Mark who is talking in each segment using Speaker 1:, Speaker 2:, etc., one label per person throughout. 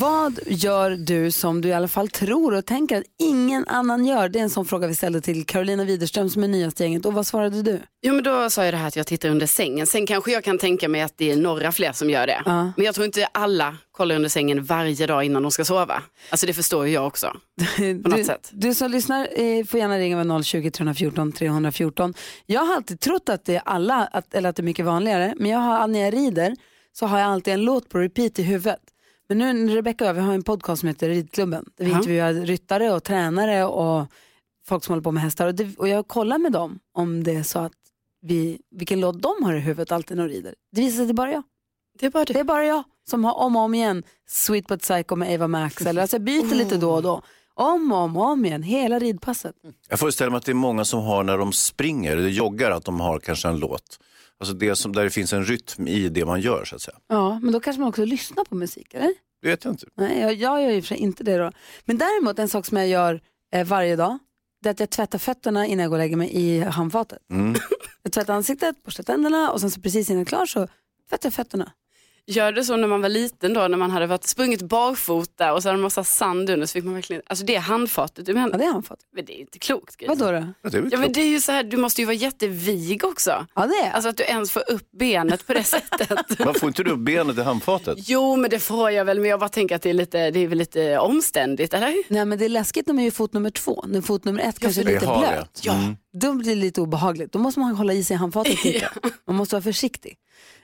Speaker 1: Vad gör du som du i alla fall tror och tänker att ingen annan gör? Det är en sån fråga vi ställde till Carolina Widerström som är nyast i gänget. Och vad svarade du?
Speaker 2: Jo men då sa jag det här att jag tittar under sängen. Sen kanske jag kan tänka mig att det är några fler som gör det.
Speaker 1: Ja.
Speaker 2: Men jag tror inte alla kollar under sängen varje dag innan de ska sova. Alltså det förstår ju jag också. På något
Speaker 1: du,
Speaker 2: sätt.
Speaker 1: Du som lyssnar eh, får gärna ringa med 020 314 314. Jag har alltid trott att det är alla, att, eller att det är mycket vanligare, men jag har, när jag rider så har jag alltid en låt på repeat i huvudet. Men nu när Rebecca och jag, vi har en podcast som heter Ridklubben, där vi
Speaker 2: Ja.
Speaker 1: intervjuar ryttare och tränare och folk som håller på med hästar. Och, det, och jag kollar med dem om det är så att vi, vilken låt de har i huvudet alltid när de rider. Det visar sig att det är bara jag.
Speaker 2: Det är bara
Speaker 1: Det är bara jag som har om och om igen Sweet But Psycho med Ava Max. Eller, alltså jag byter lite då och då. Om och om, och om igen, hela ridpasset.
Speaker 3: Jag föreställer mig att det är många som har när de springer eller joggar att de har kanske en låt. Alltså det som, där det finns en rytm i det man gör så att säga.
Speaker 1: Ja, men då kanske man också lyssnar på musik, eller?
Speaker 3: Det vet jag inte.
Speaker 1: Nej, jag, jag gör ju för sig inte det då. Men däremot en sak som jag gör eh, varje dag, det är att jag tvättar fötterna innan jag går och lägger mig i handfatet.
Speaker 3: Mm.
Speaker 1: Jag tvättar ansiktet, borstar tänderna och sen så precis innan jag är klar så tvättar jag fötterna.
Speaker 2: Gör det så när man var liten då när man hade varit sprungit barfota och så hade man massa sand under så fick man verkligen, alltså det är handfatet du
Speaker 1: Ja,
Speaker 2: menar.
Speaker 1: det är handfatet.
Speaker 2: Men det är inte klokt. Gry.
Speaker 1: Vadå då?
Speaker 3: Ja, det är väl
Speaker 2: Ja men
Speaker 3: klokt.
Speaker 2: det är ju så här, du måste ju vara jättevig också.
Speaker 1: Ja, det är
Speaker 2: Alltså att du ens får upp benet på det sättet.
Speaker 3: Man får inte du upp benet i handfatet?
Speaker 2: Jo men det får jag väl men jag bara tänker att det är, lite, det är väl lite omständigt eller?
Speaker 1: Nej, men det är läskigt när man gör fot nummer två, när fot nummer ett kanske är
Speaker 3: det
Speaker 1: lite
Speaker 3: har jag.
Speaker 1: blöt. Då blir det lite obehagligt. Då måste man hålla i sig handfatet lite. Man måste vara försiktig.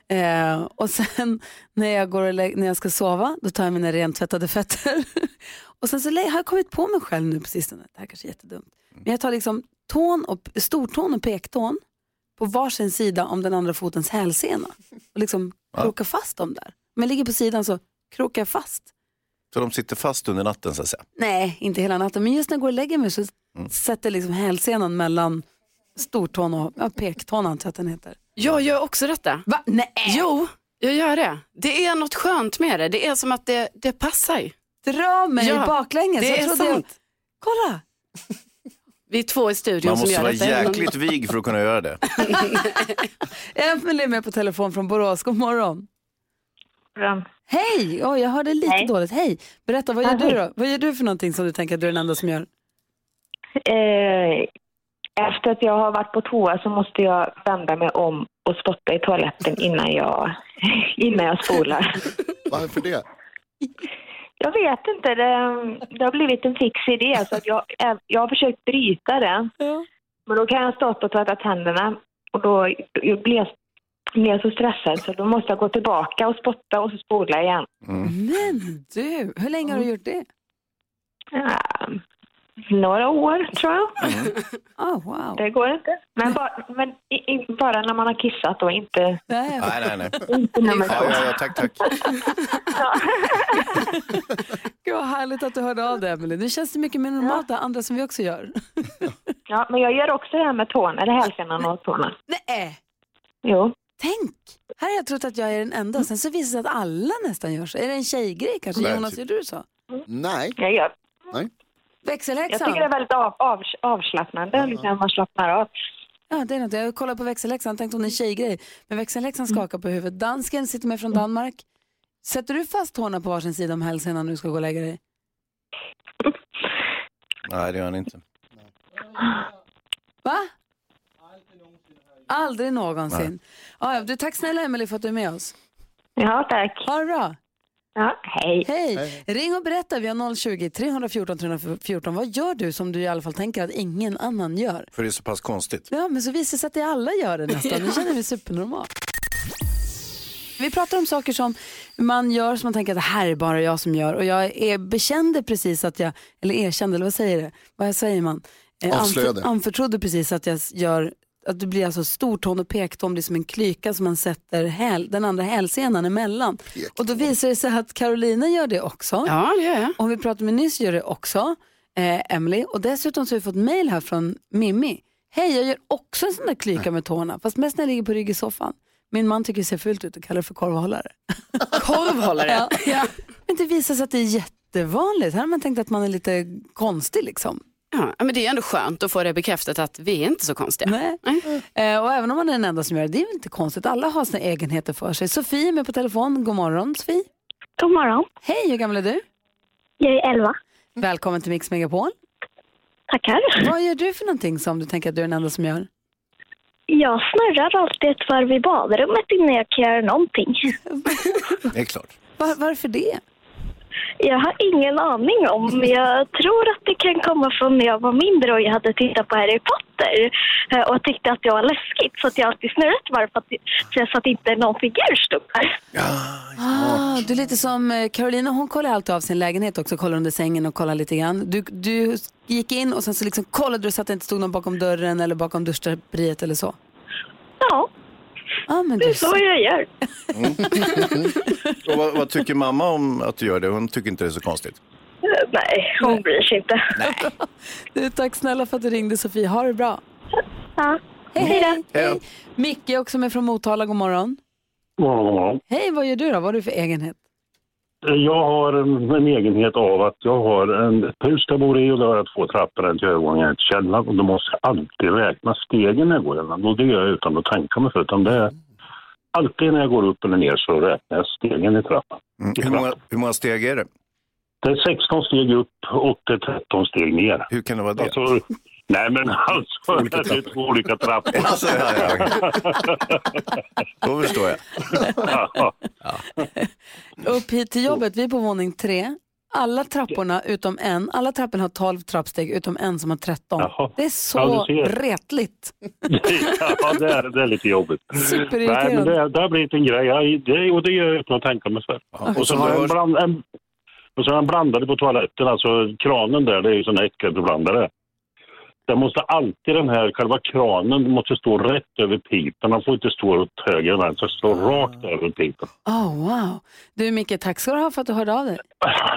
Speaker 1: Eh, och sen när jag, går och lä- när jag ska sova, då tar jag mina rentvättade fötter. och sen så lä- har jag kommit på mig själv nu på sistone, det här kanske är jättedumt. Men jag tar liksom tån och, stortån och pektån på varsin sida om den andra fotens hälsena. Och liksom krokar fast dem där. Om jag ligger på sidan så krokar jag fast.
Speaker 3: Så de sitter fast under natten så att säga.
Speaker 1: Nej, inte hela natten. Men just när jag går och lägger mig så sätter liksom hälsenan mellan stortån och ja, pektån antar jag att den heter.
Speaker 2: Jag gör också detta.
Speaker 1: Va? Nej!
Speaker 2: Jo, jag gör det. Det är något skönt med det. Det är som att det, det passar.
Speaker 1: Dra mig
Speaker 2: Ja,
Speaker 1: baklänges.
Speaker 2: det
Speaker 1: Jag
Speaker 2: är
Speaker 1: trodde
Speaker 2: sant.
Speaker 1: Jag... Kolla!
Speaker 2: Vi är två i studion
Speaker 3: Man
Speaker 2: som
Speaker 3: måste
Speaker 2: gör
Speaker 3: vara
Speaker 2: detta.
Speaker 3: jäkligt vig för att kunna göra det.
Speaker 1: Emelie är med på telefon från Borås. God morgon.
Speaker 4: morgon.
Speaker 1: Hej! Oj, jag hörde lite dåligt. Hej! Berätta, vad gör
Speaker 4: Ja,
Speaker 1: du då? Vad gör du för någonting som du tänker att du är den enda som gör?
Speaker 4: Eh, efter att jag har varit på toa så måste jag vända mig om och spotta i toaletten innan jag, innan jag spolar.
Speaker 5: Varför det?
Speaker 4: Jag vet inte, det, det har blivit en fix idé. Så att jag, jag har försökt bryta det,
Speaker 1: Ja.
Speaker 4: men då kan jag stå upp och tvätta tänderna. Och då, då blir jag, blir jag så stressad så då måste jag gå tillbaka och spotta och så spola igen.
Speaker 3: Mm.
Speaker 1: Men du, hur länge har du gjort det?
Speaker 4: Ja, Eh, några år, tror jag.
Speaker 1: Oh, wow.
Speaker 4: Det går inte. Men, bara, men i, i, bara när man har kissat då, inte,
Speaker 1: Nej, jag-
Speaker 3: Nej, nej, nej.
Speaker 4: inte när man
Speaker 3: Ja, ja, ja, tack, tack.
Speaker 1: Gud, vad härligt att du hörde av dig, Emelie. Nu känns det mycket mer normalt, det här andra som vi också gör.
Speaker 4: Ja, men jag gör också det här med tårna, eller hälsenan och tårna.
Speaker 1: Nej!
Speaker 4: Jo.
Speaker 1: Tänk! Här har jag trott att jag är den enda, sen så visar det sig att alla nästan gör så. Är det en tjejgrej kanske?
Speaker 3: Nej,
Speaker 1: Jonas,
Speaker 3: typ.
Speaker 1: gör du så?
Speaker 5: Nej.
Speaker 4: Jag, gör. jag
Speaker 1: Växelhäxan?
Speaker 4: tycker det är väldigt av, av, avslappnande, liksom, man slappnar av.
Speaker 1: Ja, det är något. Jag kollade på växelhäxan, tänkte hon är en tjejgrej. Men växelhäxan
Speaker 4: Mm.
Speaker 1: skakar på huvudet. Dansken sitter med från Danmark. Sätter du fast tårna på varsin sida om hälsan när du ska gå och lägga dig?
Speaker 3: Nej, det gör han inte.
Speaker 1: Va? Aldrig någonsin. Ja, ja, du, tack snälla Emelie för att du är med oss.
Speaker 4: Ja, tack.
Speaker 1: Ha det bra.
Speaker 4: Ja, hej.
Speaker 1: Hej. Ring och berätta. Vi har 020-314 314. Vad gör du som du i alla fall tänker att ingen annan gör?
Speaker 3: För det är så pass konstigt.
Speaker 1: Ja, men så visar det sig att det alla gör det nästan. Nu känner vi supernormalt. Vi pratar om saker som man gör som man tänker att det här är bara jag som gör. Och jag är, bekände precis att jag, eller erkände, eller vad säger det? Vad säger man? Eh, anför-
Speaker 5: Avslöjade.
Speaker 1: Anförtrodde precis att jag s- gör, att det blir alltså stortån och pektån, det är som en klyka som man sätter häl, den andra hälsenan emellan. Och då visar det sig att Carolina gör det också.
Speaker 2: Ja, det gör jag.
Speaker 1: Och vi pratade med nyss gör det också, eh, Emily. Och dessutom så har vi fått mail här från Mimmi. Hej, jag gör också en sån där klyka med tårna, fast mest när jag ligger på rygg i soffan. Min man tycker det ser fult ut och kallar det för korvhållare.
Speaker 2: Korvhållare. ja.
Speaker 1: Men det visar sig att det är jättevanligt. Här har man tänkt att man är lite konstig liksom.
Speaker 2: Ja, men det är ju ändå skönt att få det bekräftat att vi är inte så konstiga.
Speaker 1: Nej. Eh, och även om man är den enda som gör det, det är väl inte konstigt. Alla har sina egenheter för sig. Sofie är med på telefon. God morgon Sofie.
Speaker 6: God morgon.
Speaker 1: Hej, hur gammal är du?
Speaker 6: Jag är 11.
Speaker 1: Välkommen till Mix Megapol.
Speaker 6: Tackar.
Speaker 1: Vad gör du för någonting som du tänker att du är den enda som gör?
Speaker 6: Jag snurrar alltid ett varv i badrummet innan jag kan göra någonting.
Speaker 3: Det är klart.
Speaker 1: Var, varför det?
Speaker 6: Jag har ingen aning om, men jag tror att det kan komma från när jag var mindre och jag hade tittat på Harry Potter eh, och tyckte att det var läskigt. Så att jag alltid snurrade ett varv för att, så jag- så att inte någon figur stod där.
Speaker 1: Ah, du är lite som eh, Carolina, hon kollar alltid av sin lägenhet också, kollar under sängen och kollar lite grann. Du, du gick in och sen så liksom kollade du så att det inte stod någon bakom dörren eller bakom duschdraperiet eller så.
Speaker 6: Ja,
Speaker 1: Ah, men
Speaker 6: det
Speaker 1: du,
Speaker 6: är så jag gör.
Speaker 3: Och vad, vad tycker mamma om att du gör det? Hon tycker inte det är så konstigt.
Speaker 6: Eh, Nej, hon bryr sig inte.
Speaker 1: du, tack snälla för att du ringde Sofie, ha det bra.
Speaker 6: Ja.
Speaker 1: Hej, hej,
Speaker 3: Hej.
Speaker 1: hej. Micke är också med från Motala, god morgon.
Speaker 7: God morgon, god morgon.
Speaker 1: Hej, vad gör du då? Vad har du för egenhet?
Speaker 7: Jag har en, en egenhet av att jag har en, ett hus jag bor i och där har jag två trappor, en till övervåningen och en till källaren. Och då måste jag alltid räkna stegen när jag går genom. Och det gör jag utan att tänka mig för. Utan det är, alltid när jag går upp eller ner så räknar jag stegen i trappan.
Speaker 3: Mm. Hur, många, hur många steg är det?
Speaker 7: Det är 16 steg upp och det är 13 steg ner.
Speaker 3: Hur kan det vara det?
Speaker 7: Alltså, nej men alltså, det är två olika trappor.
Speaker 3: Alltså, ja, ja, ja. Då förstår jag.
Speaker 1: Upp hit till jobbet, vi är på våning tre. Alla trapporna utom en, alla trapporna har 12 trappsteg utom en som har 13.
Speaker 7: Jaha.
Speaker 1: Det är så
Speaker 7: Ja, du ser.
Speaker 1: retligt.
Speaker 7: ja, det är, det är lite jobbigt.
Speaker 1: Superirriterande.
Speaker 7: Mm. Nej, men det, det har blivit en grej. Jag, det, och det gör jag utan att tänka mig för.
Speaker 3: Ja.
Speaker 7: Och så har jag en, bland, en, och så har jag en blandare på toaletten, alltså kranen där, det är ju sån här äckelblandare. Den måste alltid den här, själva kranen måste stå rätt över pipen. Den får inte stå åt höger än den, så stå
Speaker 1: Ah.
Speaker 7: rakt över pipen.
Speaker 1: Oh, wow. Du Micke, tack ska du ha för att du hörde av dig.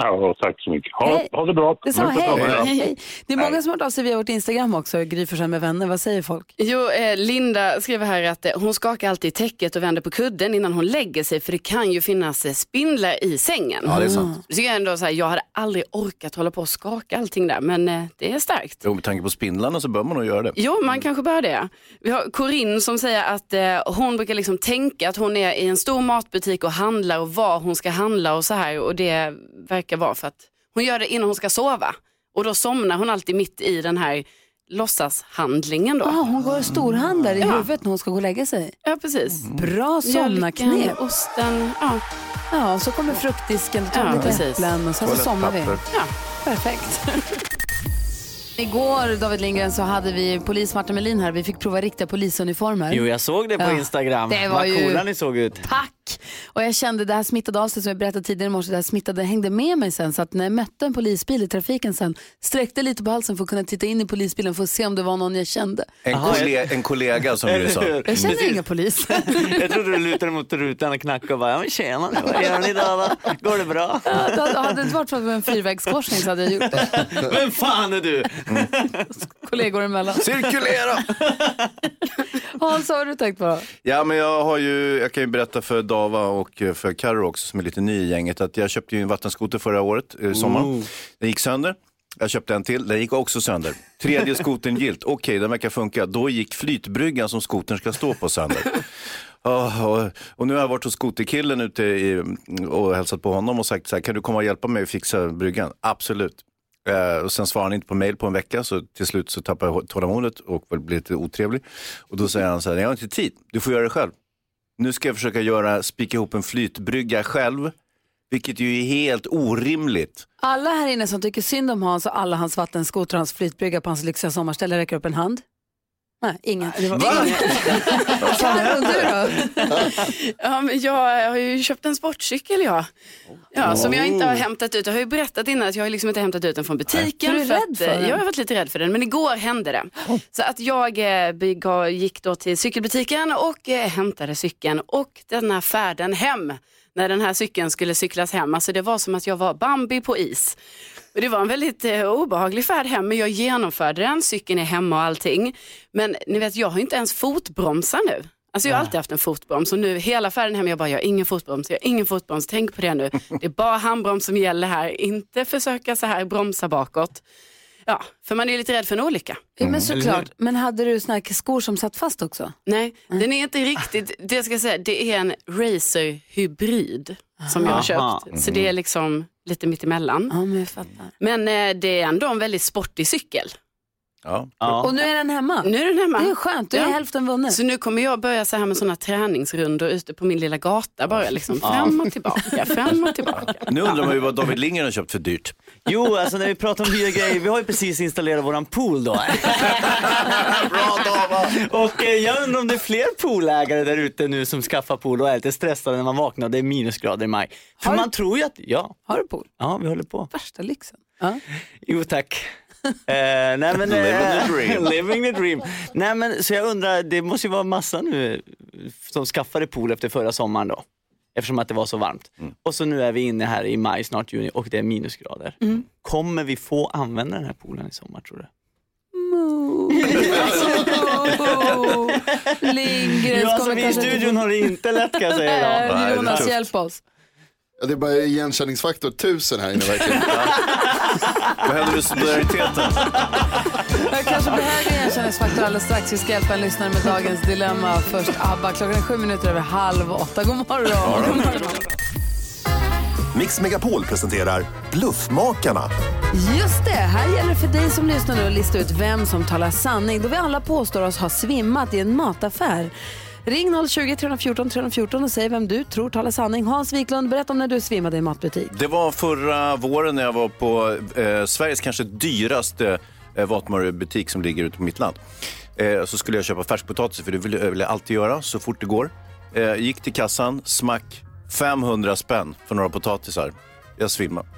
Speaker 7: Ja, tack så mycket. Ha,
Speaker 1: Hej.
Speaker 7: ha det bra.
Speaker 1: Det sa hej.
Speaker 7: Puss och kram.
Speaker 1: hej. Det är många som har hört av sig via vårt Instagram också, Gry Forssell med vänner. Vad säger folk?
Speaker 2: Jo, eh, Linda skriver här att eh, hon skakar alltid i täcket och vänder på kudden innan hon lägger sig för det kan ju finnas eh, spindlar i sängen. Mm.
Speaker 3: Ja, det är sant.
Speaker 2: Så jag, ändå så här, jag hade aldrig orkat hålla på och skaka allting där men eh, det är starkt.
Speaker 3: Jo, med tanke på spindlarna så bör man nog göra det.
Speaker 2: Jo, man kanske bör det. Vi har Corinne som säger att eh, hon brukar liksom tänka att hon är i en stor matbutik och handlar och vad hon ska handla och så här och det verkar vara för att hon gör det innan hon ska sova och då somnar hon alltid mitt i den här låtsashandlingen då.
Speaker 1: Ah, hon går och storhandlar i huvudet när hon ska gå och lägga sig.
Speaker 2: Ja, precis.
Speaker 1: Bra somnarknep.
Speaker 2: Mjölken, osten, ja.
Speaker 1: Ja, och så kommer fruktdisken, då tar vi
Speaker 2: Ja,
Speaker 1: lite
Speaker 2: precis.
Speaker 1: äpplen och sen så somnar vi.
Speaker 3: Toalettpapper.
Speaker 1: Perfekt. Igår, David Lindgren, så hade vi polis Martin Melin här. Vi fick prova riktiga polisuniformer.
Speaker 8: Jo, jag såg det på
Speaker 1: Ja,
Speaker 8: Instagram.
Speaker 1: det var
Speaker 8: Vad
Speaker 1: ju-
Speaker 8: coola ni såg ut.
Speaker 1: Tack! Och jag kände det här smittade av sig som jag berättade tidigare i morse. Det här smittade hängde med mig sen så att när jag mötte en polisbil i trafiken sen sträckte lite på halsen för att kunna titta in i polisbilen för att se om det var någon jag kände.
Speaker 3: En, kolle- en kollega som du sa.
Speaker 1: Jag känner
Speaker 8: Precis.
Speaker 1: inga poliser.
Speaker 8: Jag trodde du lutade mot rutan och knackade och bara, ja men tjena, vad gör ni idag då? Går det bra?
Speaker 1: Ja, hade det inte varit för att det var en fyrvägskorsning så hade jag gjort det.
Speaker 8: Vem fan är du?
Speaker 1: Kollegor emellan.
Speaker 3: Cirkulera!
Speaker 1: Hans, vad har du tänkt på?
Speaker 3: Ja, men jag, har ju, jag kan ju berätta för Dava och eh, för Karo också som är lite ny i gänget att jag köpte ju en vattenskoter förra året, eh, sommaren. Den gick sönder. Jag köpte en till, den gick också sönder. Tredje skotern gilt, okej den verkar funka. Då gick flytbryggan som skotern ska stå på sönder. Ja, och, och nu har jag varit hos skoterkillen ute i, och hälsat på honom och sagt så här, kan du komma och hjälpa mig att fixa bryggan? Absolut. Eh, och sen svarar han inte på mail på en vecka så till slut så tappar jag tålamodet och blir lite otrevlig. Och då säger han så här, jag har inte tid, du får göra det själv. Nu ska jag försöka göra, spika ihop en flytbrygga själv, vilket ju är helt orimligt.
Speaker 1: Alla här inne som tycker synd om Hans och alla hans vattenskotrar och hans flytbrygga på hans lyxiga sommarställe räcker upp en hand. Nej, ingen.
Speaker 3: Va?
Speaker 1: Carro, du då?
Speaker 2: Ja, men jag har ju köpt en sportcykel jag. Ja, som jag inte har hämtat ut. Jag har ju berättat innan att jag har liksom inte hämtat ut den från butiken.
Speaker 1: Nej. För du är rädd för
Speaker 2: att, eh,
Speaker 1: den?
Speaker 2: Jag har varit lite rädd för den, men igår hände det. Så att jag eh, begav- gick då till cykelbutiken och eh, hämtade cykeln och den här färden hem, när den här cykeln skulle cyklas hem, alltså det var som att jag var Bambi på is. Och det var en väldigt eh, obehaglig färd hem, men jag genomförde den, cykeln är hemma och allting. Men ni vet, jag har ju inte ens fotbromsar nu. Alltså jag har alltid haft en fotbroms och nu hela färden hem, jag bara, jag har ingen fotbroms, jag har ingen fotbroms, tänk på det nu. Det är bara handbroms som gäller här, inte försöka så här bromsa bakåt. Ja, för man är ju lite rädd för en olycka.
Speaker 1: Ja, men såklart. Men hade du såna här skor som satt fast också?
Speaker 2: Nej, den är inte riktigt, det ska jag säga, det är en racerhybrid som jag har
Speaker 8: Aha.
Speaker 2: köpt. Så det är liksom lite mittemellan.
Speaker 1: Mm. Ja, men jag fattar.
Speaker 2: Men eh, det är ändå en väldigt sportig cykel.
Speaker 3: Ja.
Speaker 1: Och nu är den hemma.
Speaker 2: Nu är den hemma.
Speaker 1: Det är skönt, du är
Speaker 2: Ja.
Speaker 1: hälften vunnen.
Speaker 2: Så nu kommer jag börja så här med sådana träningsrundor ute på min lilla gata bara liksom fram och tillbaka, fram och tillbaka.
Speaker 3: Nu undrar man ju vad David Lindgren har köpt för dyrt.
Speaker 8: Jo, alltså när vi pratar om dyra grejer, vi har ju precis installerat våran pool då.
Speaker 3: Bra Dava!
Speaker 8: Och eh, jag undrar om det är fler poolägare där ute nu som skaffar pool och är lite stressade när man vaknar och det är minusgrader i maj. För man tror ju att, ja,
Speaker 1: Har du pool?
Speaker 8: ja vi håller på.
Speaker 1: Värsta lyxen. Ja.
Speaker 8: Jo tack. Eh, nej, men, eh,
Speaker 3: Living the dream.
Speaker 8: living the dream. Nej, men, så jag undrar, det måste ju vara massa nu eh, som skaffade pool efter förra sommaren då. Eftersom att det var så varmt.
Speaker 3: Mm.
Speaker 8: Och så nu är vi inne här i maj, snart juni och det är minusgrader.
Speaker 3: Mm.
Speaker 8: Kommer vi få använda den här poolen i sommar tror du?
Speaker 1: Oh, Lindgrens
Speaker 8: Jo, alltså,
Speaker 1: kommer
Speaker 8: vi i
Speaker 1: kanske inte-
Speaker 8: studion har det inte lätt kan jag säga idag.
Speaker 3: Nej, det
Speaker 1: Eh,
Speaker 3: är
Speaker 1: Jonas,
Speaker 3: tufft.
Speaker 1: hjälp oss.
Speaker 5: Ja, Det är bara igenkänningsfaktor tusen här inne verkligen.
Speaker 3: Vad händer med solidariteten?
Speaker 1: Jag kanske behöver en igenkänningsfaktor alldeles strax. Vi ska hjälpa en lyssnare med dagens dilemma. Först ABBA. Klockan är sju minuter över halv åtta. God morgon. God morgon.
Speaker 9: Mix Megapol presenterar Bluffmakarna.
Speaker 1: Just det, här gäller det för dig som lyssnar nu att lista ut vem som talar sanning då vi alla påstår oss ha svimmat i en mataffär. Ring 020-314 314 och säg vem du tror talar sanning. Hans Wiklund, berätta om när du svimmade i en matbutik.
Speaker 3: Det var förra våren när jag var på eh, Sveriges kanske dyraste eh, matvarubutik som ligger ute på mitt land. Eh, så skulle jag köpa färskpotatis, för det vill jag vill jag alltid göra så fort det går. Eh, gick till kassan, smack, 500 spänn för några potatisar. Jag svimmade.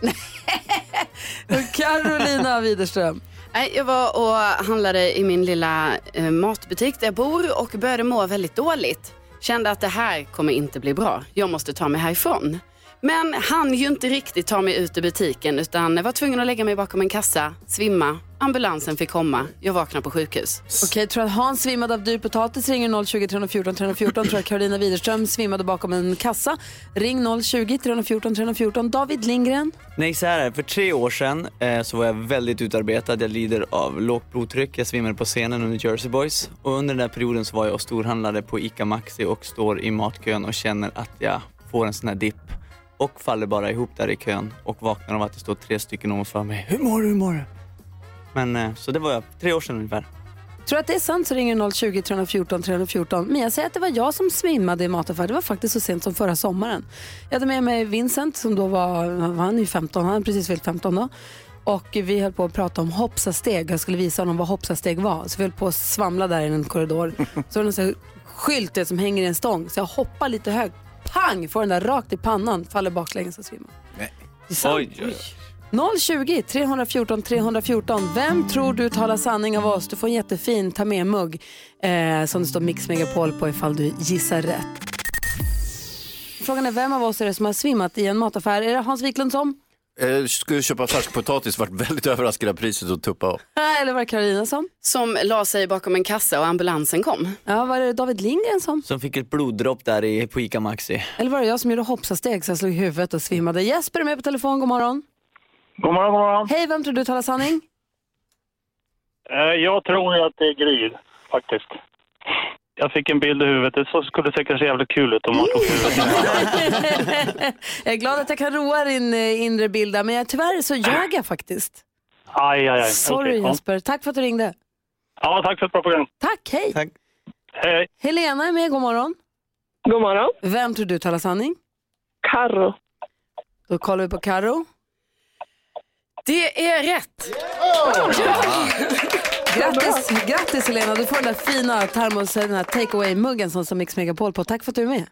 Speaker 1: Carolina Widerström.
Speaker 2: Nej, Jag var och handlade i min lilla eh, matbutik där jag bor och började må väldigt dåligt. Kände att det här kommer inte bli bra. Jag måste ta mig härifrån. Men han ju inte riktigt ta mig ut ur butiken utan var tvungen att lägga mig bakom en kassa, svimma, ambulansen fick komma, jag vaknade på sjukhus.
Speaker 1: Okej, tror att Hans svimmade av dyr potatis ringer 020-314 314. Tror att Carolina Widerström svimmade bakom en kassa. Ring 020-314 314. David Lindgren.
Speaker 8: Nej, så här är det. För tre år sedan eh, så var jag väldigt utarbetad. Jag lider av lågt blodtryck. Jag svimmade på scenen under Jersey Boys. Och under den där perioden så var jag och storhandlade på ICA Maxi och står i matkön och känner att jag får en sån här dipp. Och faller bara ihop där i kön och vaknar av att det står tre stycken ovanför mig. Hur mår du? Hur mår du? Men eh, så det var jag, tre år sedan ungefär.
Speaker 1: Tror att det är sant så ringer 020 314 314. Men jag säger att det var jag som svimmade i mataffär. Det var faktiskt så sent som förra sommaren. Jag hade med mig Vincent som då var, var han är ju 15, han hade precis fyllt 15 då. Och vi höll på att prata om hoppsasteg. Jag skulle visa honom vad hoppsasteg var. Så vi höll på att svamla där i en korridor. Så var det en sån här skylt det som hänger i en stång. Så jag hoppar lite högt. Pang! Får den där rakt i pannan. Faller baklänges och svimmar.
Speaker 8: Oj, oj,
Speaker 1: 020 314 314. Vem tror du talar sanning av oss? Du får en jättefin ta med-mugg eh, som det står Mix Megapol på ifall du gissar rätt. Frågan är vem av oss är det som har svimmat i en mataffär? Är det Hans Wiklund som?
Speaker 3: Jag Eh, skulle köpa färskpotatis, vart väldigt överraskad av priset och tuppa av.
Speaker 1: Eh, Eller var det Karolina som?
Speaker 2: Som la sig bakom en kassa och ambulansen kom.
Speaker 1: Ja, var det David Lindgren som?
Speaker 8: Som fick ett bloddropp där i, på ICA Maxi.
Speaker 1: Eller var det jag som gjorde hoppsasteg så jag slog i huvudet och svimmade? Jesper är med på telefon, god morgon.
Speaker 7: God morgon, god morgon.
Speaker 1: Hej, vem tror du talar sanning?
Speaker 7: Eh, Jag tror ju att det är Gry, faktiskt. Jag fick en bild i huvudet. Det så skulle säkert se jävligt kul ut om man tog huvudet.
Speaker 1: jag är glad att jag kan roa din eh, inre bild där, men jag, tyvärr så ljög jag faktiskt.
Speaker 7: Aj, aj, aj.
Speaker 1: Sorry
Speaker 7: Okej, ja.
Speaker 1: Jesper, tack för att du ringde.
Speaker 7: Ja, tack för ett bra program.
Speaker 1: Tack, hej!
Speaker 8: Tack.
Speaker 7: Hej.
Speaker 1: Helena är med, god morgon.
Speaker 4: God morgon.
Speaker 1: Vem tror du talar sanning?
Speaker 4: Karro.
Speaker 1: Då kollar vi på Karo.
Speaker 2: Det är rätt!
Speaker 4: Oh!
Speaker 1: Grattis, grattis Helena, du får den där fina termos, den här take away-muggen som står Mix Megapol på. Tack för att du är med.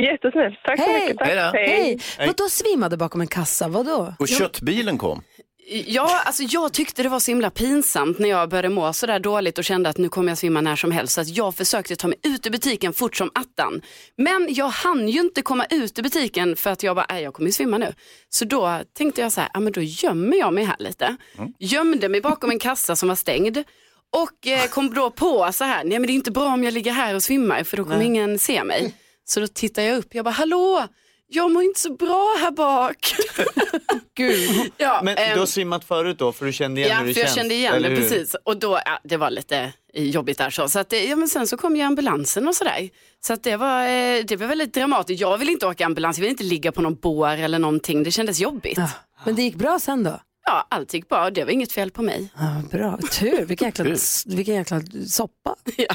Speaker 4: Jättesnällt. Tack
Speaker 1: Hej.
Speaker 4: så mycket. Tack.
Speaker 3: Hej då.
Speaker 1: Hej! Vadå svimmade bakom en kassa, vadå?
Speaker 3: Och köttbilen kom.
Speaker 2: Ja, alltså jag tyckte det var så himla pinsamt när jag började må sådär dåligt och kände att nu kommer jag svimma när som helst. Så att jag försökte ta mig ut ur butiken fort som attan. Men jag hann ju inte komma ut ur butiken för att jag bara, "Nej, jag kommer ju svimma nu. Så då tänkte jag så här, ja men då gömmer jag mig här lite. Gömde mig bakom en kassa som var stängd. Och eh, kom då på så här, nej men det är inte bra om jag ligger här och svimmar för då kommer ingen se mig. Så då tittar jag upp, jag bara hallå, jag mår inte så bra här bak. Gud. Ja,
Speaker 8: Men
Speaker 2: ehm,
Speaker 8: du har simmat förut då för du kände igen
Speaker 2: Ja,
Speaker 8: hur
Speaker 2: för
Speaker 8: det
Speaker 2: jag
Speaker 8: känns?
Speaker 2: kände igen
Speaker 8: eller
Speaker 2: det
Speaker 8: hur?
Speaker 2: precis. Och då, ja, det var lite jobbigt där så. så att, det- ja, men sen så kom ju ambulansen och sådär. Så att det, var, eh, det var väldigt dramatiskt. Jag vill inte åka ambulans, jag vill inte ligga på någon bår eller någonting. Det kändes jobbigt.
Speaker 1: Men det gick bra sen då?
Speaker 2: Ja, allt gick bra. Det var inget fel på mig.
Speaker 1: Ja, bra, tur. Vilken jäkla, vilken jäkla soppa.
Speaker 10: Ja,